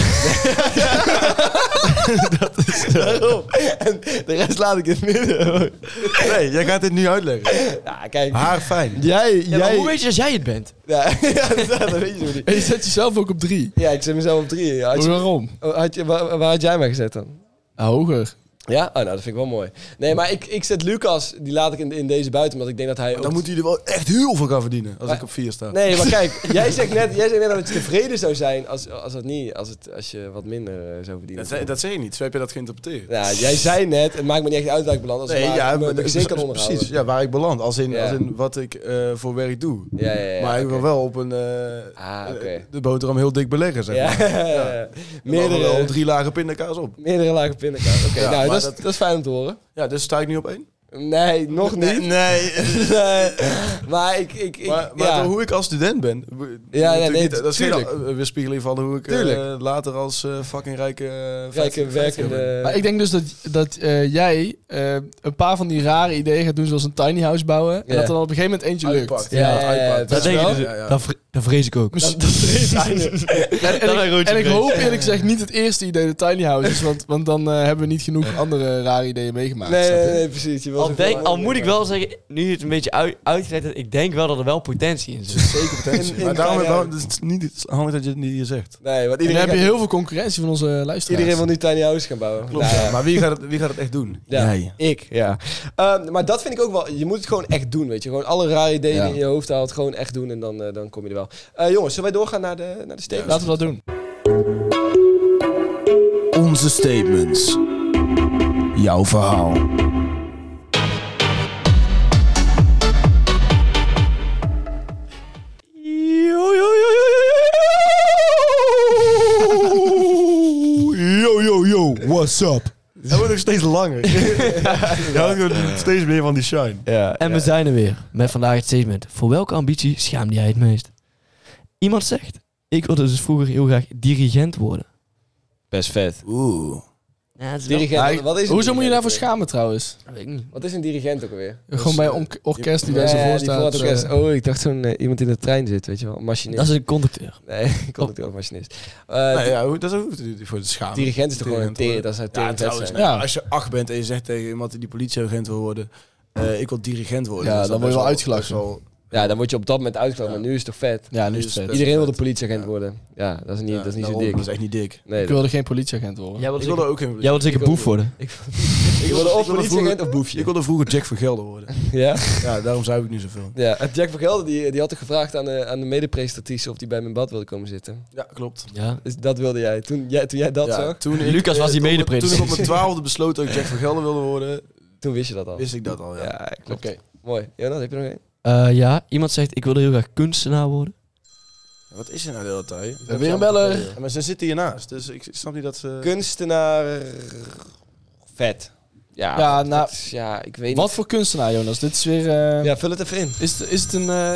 Speaker 2: Daarom. En de rest laat ik in het midden.
Speaker 4: Nee, jij gaat dit nu uitleggen.
Speaker 2: Ja, kijk.
Speaker 4: Haar fijn.
Speaker 2: Jij,
Speaker 3: Ja, maar
Speaker 2: jij...
Speaker 3: hoe weet je dat jij het bent?
Speaker 2: Ja, ja, dat weet je zo niet.
Speaker 5: En je zet jezelf ook op drie.
Speaker 2: Ja, ik zet mezelf op drie. Had je- oh,
Speaker 5: Waarom?
Speaker 2: had je, waar, waar had jij mij gezet dan?
Speaker 5: Hoger.
Speaker 2: Ja? Oh, nou, dat vind ik wel mooi. Nee, maar ik, ik zet Lucas, die laat ik in, in deze buiten, omdat ik denk dat hij ook...
Speaker 4: Dan moet hij er wel echt heel veel gaan verdienen als
Speaker 2: Maar-
Speaker 4: ik op 4 sta.
Speaker 2: Nee, maar kijk, jij zegt net, jij zegt net dat je tevreden zou zijn als, als dat niet, als, het, als je wat minder eh, zou verdienen.
Speaker 4: Dat, zei- dat zeg je niet. Zo heb je dat geïnterpreteerd.
Speaker 2: Ja, jij zei net, het maakt me niet echt uit waar ik beland, als ik maar mijn, mijn gezin kan onderhouden.
Speaker 4: precies. Ja, waar ik beland. Als in,
Speaker 2: Ja.
Speaker 4: als in wat ik eh, voor werk doe.
Speaker 2: Ja, ja, ja.
Speaker 4: maar ik wil
Speaker 2: oké.
Speaker 4: wel op een... eh,
Speaker 2: Ah, oké.
Speaker 4: eh, De boterham heel dik beleggen, zeg
Speaker 2: Ja,
Speaker 4: maar. Meerdere...
Speaker 2: Meerdere,
Speaker 4: wel drie lagen pindakaas op.
Speaker 2: meerdere lage pindakaas. Oké,
Speaker 4: Ja,
Speaker 2: nou,
Speaker 4: maar
Speaker 2: dat is, dat...
Speaker 4: dat-
Speaker 2: is fijn om te horen.
Speaker 4: Ja, dus sta ik nu op één?
Speaker 2: Nee, nog niet.
Speaker 4: Nee.
Speaker 2: Nee. Maar ik... ik, ik
Speaker 4: maar maar
Speaker 2: ja.
Speaker 4: hoe ik als student ben... b- natuurlijk
Speaker 2: nee,
Speaker 4: niet- dat is geen
Speaker 2: tuurlijk.
Speaker 4: eh, weerspiegeling van hoe ik eh,
Speaker 2: Tuurlijk.
Speaker 4: later als eh, fucking rijke... eh,
Speaker 2: Rijke,
Speaker 4: 50 ben.
Speaker 2: werkende...
Speaker 5: Maar ik denk dus dat, dat eh, jij eh, een paar van die rare ideeën gaat doen, zoals een tiny house bouwen.
Speaker 2: Ja.
Speaker 5: En dat dan op een gegeven moment eentje lukt. Dus
Speaker 4: Uitpakt.
Speaker 2: Ja, ja, ja, dat
Speaker 4: uitpakt.
Speaker 3: Dat,
Speaker 2: denk
Speaker 3: denk
Speaker 2: je
Speaker 3: je
Speaker 2: wel.
Speaker 3: dus,
Speaker 4: Ja, ja.
Speaker 3: Dat, vri- Dat vrees ik ook.
Speaker 5: Dat, dat is het einde. En, en
Speaker 3: Dat een
Speaker 5: ik,
Speaker 3: roodje
Speaker 5: en ik
Speaker 3: vrees.
Speaker 5: hoop eerlijk gezegd niet het eerste idee de tiny house is, want, want dan eh, hebben we niet genoeg andere rare ideeën meegemaakt.
Speaker 2: Nee,
Speaker 5: snap je?
Speaker 2: nee, nee, precies. Je was
Speaker 3: Al,
Speaker 2: ook
Speaker 3: denk,
Speaker 2: wel-
Speaker 3: al moet ik wel zeggen, nu je het een beetje uit, uitgelegd hebt, ik denk wel dat er wel potentie in zit.
Speaker 2: zeker potentie.
Speaker 4: maar daarom daarom- het is niet het is handig dat je het niet hier zegt.
Speaker 2: Nee, want
Speaker 5: En dan
Speaker 2: iedereen,
Speaker 5: heb je heel veel concurrentie van onze luisteraars.
Speaker 2: iedereen wil nu tiny house gaan bouwen.
Speaker 4: Klopt.
Speaker 2: Nou,
Speaker 4: ja. Maar wie gaat, het, wie gaat het echt doen?
Speaker 2: Ja,
Speaker 4: Jij.
Speaker 2: ik, ja. Ehm, maar dat vind ik ook wel... Je moet het gewoon echt doen, weet je. Gewoon alle rare ideeën
Speaker 5: Ja.
Speaker 2: die in je hoofd haalt, gewoon echt doen en dan, eh, dan kom je er wel. Eh, jongens, zullen wij doorgaan naar de, naar de stevens?
Speaker 5: Laten we dat doen.
Speaker 4: Onze statements. Jouw verhaal.
Speaker 3: Yo, yo, yo, what's up?
Speaker 4: Dat wordt nog steeds langer. ja, dat wordt steeds meer van die shine.
Speaker 2: Ja,
Speaker 3: En we zijn er weer met vandaag het statement. Voor welke ambitie schaamde jij het meest? Iemand zegt, ik wilde dus vroeger heel graag dirigent worden.
Speaker 2: best vet.
Speaker 4: Oeh.
Speaker 3: Ja, dat is
Speaker 2: Dirigent,
Speaker 5: Maar ik-
Speaker 2: wat is een
Speaker 5: Hoezo moet je
Speaker 2: dirigent
Speaker 5: daarvoor
Speaker 2: ook weer?
Speaker 5: schamen trouwens?
Speaker 2: Wat is een dirigent ook alweer?
Speaker 5: Gewoon bij een orkest die daar zo
Speaker 2: Ja,
Speaker 5: voor
Speaker 2: die
Speaker 5: staat.
Speaker 2: voor het
Speaker 5: eh,
Speaker 2: orkest. Oh, ik dacht zo'n eh, iemand die in de trein zit, weet je wel. Een machinist.
Speaker 3: Dat is een conducteur.
Speaker 2: Nee, ik kon natuurlijk ook machinist. Eh,
Speaker 4: Nou ja, hoe- dat is ook voor het schamen.
Speaker 2: Dirigent is toch gewoon een
Speaker 4: Dirigent
Speaker 2: tering, dat is een
Speaker 4: Ja,
Speaker 2: tering
Speaker 4: trouwens,
Speaker 2: zijn.
Speaker 5: Ja.
Speaker 4: als je acht bent en je zegt tegen iemand die politieagent wil worden, eh, ik wil dirigent worden. is
Speaker 5: Ja, dan
Speaker 4: dat
Speaker 5: word je wel
Speaker 4: best
Speaker 5: uitgelachen.
Speaker 4: best wel-
Speaker 2: Ja, dan word je op dat moment uitgelachen, maar nu is het toch vet.
Speaker 5: Ja, nu
Speaker 4: Dus-
Speaker 5: is het vet.
Speaker 4: Best
Speaker 2: Iedereen wil de
Speaker 4: vet.
Speaker 2: politieagent
Speaker 4: Ja.
Speaker 2: worden. Ja, dat is niet,
Speaker 4: ja,
Speaker 2: dat is niet zo
Speaker 4: daarom,
Speaker 2: dik.
Speaker 4: Dat is echt niet dik.
Speaker 2: Nee,
Speaker 5: Ik
Speaker 2: dat-
Speaker 5: wilde geen politieagent worden.
Speaker 3: Jij wilde
Speaker 4: Ik
Speaker 3: zeker,
Speaker 4: wilde ook geen
Speaker 3: jij wilde zeker boef worden.
Speaker 2: ik wilde of
Speaker 4: ik wilde
Speaker 2: politieagent
Speaker 4: vroeger-
Speaker 2: of boefje.
Speaker 4: Ik wilde vroeger Jack van Gelder worden.
Speaker 2: Ja?
Speaker 4: Ja, daarom zou ik nu zoveel.
Speaker 2: ja. En Jack van Gelder die, die had ik gevraagd aan de, aan de medepresentatrice of die bij mijn bad wilde komen zitten.
Speaker 4: Ja, klopt.
Speaker 3: Ja.
Speaker 2: Dus dat wilde jij. Toen jij, toen jij dat
Speaker 4: Ja,
Speaker 2: zag,
Speaker 4: toen
Speaker 3: Lucas
Speaker 4: eh,
Speaker 3: was die
Speaker 4: op mijn-
Speaker 3: medeprins.
Speaker 4: Toen ik op mijn twaalfde besloot dat ik Jack van Gelder wilde worden,
Speaker 2: toen wist je dat al.
Speaker 4: wist ik dat al. Ja.
Speaker 2: Ja, klopt.
Speaker 5: Oké.
Speaker 2: Mooi. Jonas, heb je er nog één?
Speaker 3: Eh, ja, iemand zegt, ik wilde heel graag kunstenaar worden.
Speaker 4: Wat is er nou de hele tijd?
Speaker 5: hebben weer een beller.
Speaker 4: Ja, maar ze zitten hiernaast, dus ik ik snap niet dat ze...
Speaker 2: Kunstenaar... Vet. Ja,
Speaker 5: Ja, nou,
Speaker 2: dat is- ja ik weet
Speaker 5: Wat voor kunstenaar, Jonas? Dit is weer... eh,
Speaker 2: niet. Ja, vul het even in.
Speaker 5: is, het, is het een eh,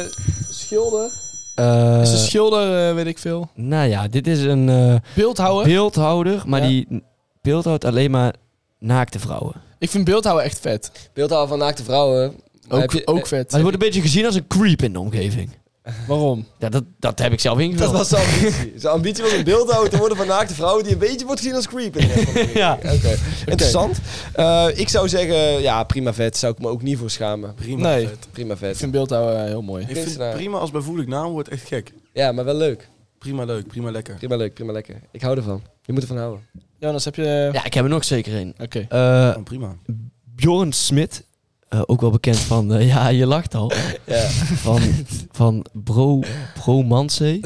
Speaker 5: schilder?
Speaker 3: Eh,
Speaker 5: Is het een schilder, eh, weet ik veel?
Speaker 3: nou ja, dit is een eh,
Speaker 5: Beeldhouwer?
Speaker 3: beeldhouder, maar
Speaker 5: Ja.
Speaker 3: die beeldhoudt alleen maar naakte vrouwen. Maar
Speaker 5: ik vind beeldhouwer echt vet.
Speaker 2: Beeldhouwer van naakte vrouwen. Maar heb
Speaker 5: Ook,
Speaker 2: je-
Speaker 5: ook vet.
Speaker 3: het wordt een beetje gezien als een creep in de omgeving.
Speaker 5: Waarom?
Speaker 3: Ja, dat, dat heb ik zelf ingevuld.
Speaker 2: eh, Dat was zijn ambitie. Zijn ambitie was een beeldhouwer te worden van naakte vrouwen die een beetje wordt gezien als creep. in de rest van de
Speaker 3: Ja.
Speaker 2: wereld. Oké. Interessant. Eh, ik zou zeggen, ja, prima vet. Zou ik me ook niet voor schamen.
Speaker 4: Prima.
Speaker 5: Nee.
Speaker 4: vet.
Speaker 2: Prima
Speaker 5: Ik
Speaker 2: vet.
Speaker 5: vind beeldhouwer eh, heel mooi.
Speaker 4: Ik vind
Speaker 2: Kunstenaar.
Speaker 4: prima als bijvoeglijk naamwoord echt gek.
Speaker 2: Ja, maar wel leuk.
Speaker 4: Prima leuk, prima lekker.
Speaker 2: Prima leuk, prima lekker. Ik hou ervan. Je moet ervan houden.
Speaker 5: Jonas, heb je...
Speaker 3: Ja, ik heb er nog zeker een.
Speaker 5: Oké.
Speaker 3: Eh
Speaker 4: Gewoon prima.
Speaker 3: Bjorn Smit, eh, ook wel bekend van, eh, ja, je lacht al,
Speaker 2: Ja.
Speaker 3: van, van Bro, Bromanse.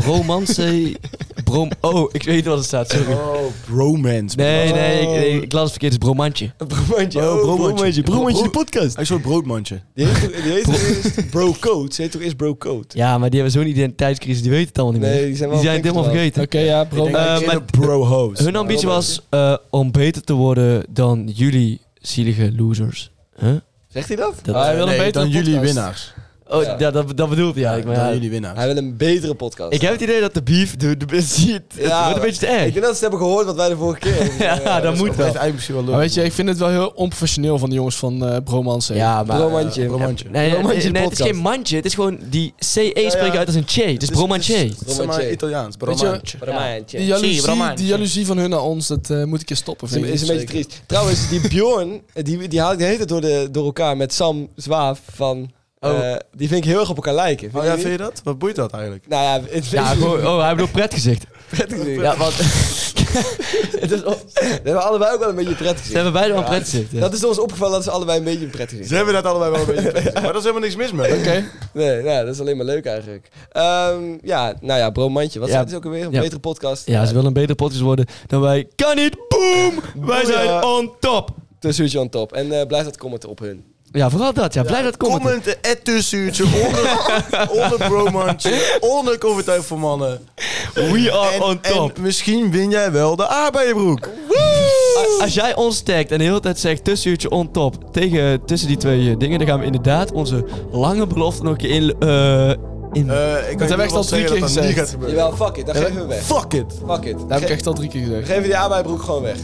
Speaker 3: Bromanse. Brom, oh, ik weet wat er staat, sorry.
Speaker 4: Oh, bromance.
Speaker 3: Nee, nee, ik, nee, ik las het verkeerd, het is Bromantje.
Speaker 2: Een broodje.
Speaker 4: Oh, broodmandje.
Speaker 2: Broodmandje,
Speaker 4: Bro-
Speaker 2: de podcast.
Speaker 4: Hij is zo'n broodmandje.
Speaker 2: Die heet, toch- die heet toch eerst Bro Code. Ze heet toch eerst Bro Code?
Speaker 3: Ja, maar die hebben zo'n identiteitscrisis, die weten het allemaal niet
Speaker 2: Nee,
Speaker 3: meer.
Speaker 2: die zijn wel
Speaker 3: Die zijn het helemaal
Speaker 2: flink
Speaker 3: vergeten.
Speaker 5: Oké, ja, bro.
Speaker 4: Ik denk dat
Speaker 3: Eh,
Speaker 4: ik
Speaker 3: maar-
Speaker 4: een bro-host.
Speaker 3: Hun ambitie
Speaker 2: wel
Speaker 3: was eh, om beter te worden dan jullie zielige losers. Huh?
Speaker 2: Zegt hij dat?
Speaker 3: Dat,
Speaker 5: Ah, hij wil een
Speaker 4: Nee,
Speaker 5: betere
Speaker 4: dan jullie
Speaker 5: podcast.
Speaker 4: winnaars.
Speaker 3: oh,
Speaker 2: ja.
Speaker 3: ja, dat, dat bedoelt hij eigenlijk.
Speaker 4: dan
Speaker 3: Maar ja,
Speaker 4: jullie winnaars.
Speaker 2: Hij wil een betere podcast.
Speaker 3: ik heb het idee dat de beef de, de, ziet. het
Speaker 2: Ja,
Speaker 3: wordt een beetje te erg.
Speaker 2: Ik denk dat ze hebben gehoord wat wij de vorige keer hebben.
Speaker 3: Ja, dat
Speaker 2: is
Speaker 3: moet
Speaker 4: Dat
Speaker 2: wel.
Speaker 4: is eigenlijk misschien wel leuk.
Speaker 5: Maar weet je, ik vind het wel heel onprofessioneel van de jongens van eh Bromance.
Speaker 3: Ja, maar...
Speaker 2: Bromantje.
Speaker 4: Bromantje.
Speaker 3: Nee, nee,
Speaker 2: Bromantje
Speaker 3: nee, nee, het is
Speaker 2: podcast.
Speaker 3: geen mandje. Het is gewoon die CE
Speaker 4: ja.
Speaker 3: spreek je uit als een che. Dus Het is bromantje.
Speaker 4: Het is zeg maar Italiaans,
Speaker 5: Weet je-
Speaker 4: bromantje.
Speaker 2: Bromantje.
Speaker 5: Die jaloezie, die jaloezie van hun naar ons, dat eh, moet ik eens stoppen.
Speaker 2: Is een,
Speaker 5: vind ik.
Speaker 2: is een beetje triest. Trouwens, die Bjorn, eh, die, die haal ik de hele tijd door, de, door elkaar met Sam Zwaaf van... eh,
Speaker 3: Oh.
Speaker 2: die vind ik heel erg op elkaar lijken.
Speaker 4: Oh ja,
Speaker 2: je
Speaker 4: vind je
Speaker 2: niet?
Speaker 4: dat? Wat boeit dat eigenlijk?
Speaker 2: Nou ja, het
Speaker 3: Ja, gewoon, oh, hij bedoelt pretgezicht.
Speaker 2: prettig gezicht.
Speaker 3: Ja, want ze
Speaker 2: het is,
Speaker 3: oh.
Speaker 2: o- we hebben allebei ook wel een beetje een prettig gezicht.
Speaker 3: hebben beide wel een pretgezicht. ja.
Speaker 2: Dat is ons opgevallen dat ze allebei een beetje een prettig gezicht
Speaker 4: Ze hebben dat allebei wel een beetje gepest. Maar daar is helemaal niks mis mee.
Speaker 5: Oké.
Speaker 2: hebben. Nee, nou, dat is alleen maar leuk eigenlijk. Ehm, ja, nou ja, Bromantje. Wat
Speaker 3: Ja.
Speaker 2: staat het ook alweer? Een
Speaker 3: Ja.
Speaker 2: betere podcast.
Speaker 3: Ja, ze willen een betere podcast worden dan wij. Kan niet, boom! Wij zijn on top!
Speaker 2: Tussenuurtje Eh, on top. En eh, blijf dat commenten op hun.
Speaker 3: Ja, vooral dat. Ja, blijf dat commenten.
Speaker 4: Comment, het tussenuurtje, onder, onder bromantje, onder koffietijd voor mannen.
Speaker 3: We are
Speaker 4: En,
Speaker 3: on Oh, top.
Speaker 4: en misschien win jij wel de aardbeienbroek.
Speaker 3: A- Als jij ons tagt en de hele tijd zegt tussenuurtje on top tegen, tussen die twee eh, dingen, dan gaan we inderdaad onze lange belofte nog een keer in... eh, in
Speaker 4: Eh, ik kan
Speaker 5: Dat heb ik echt al drie
Speaker 4: dat
Speaker 5: keer
Speaker 4: dat niet
Speaker 5: gezegd.
Speaker 4: gaat gebeuren.
Speaker 2: Jawel, fuck it. Dan geven we hem weg.
Speaker 4: Fuck it.
Speaker 2: Fuck it.
Speaker 5: Dat heb ik
Speaker 2: Ge-
Speaker 5: echt al drie keer gezegd.
Speaker 2: Geven we die aan broek gewoon weg.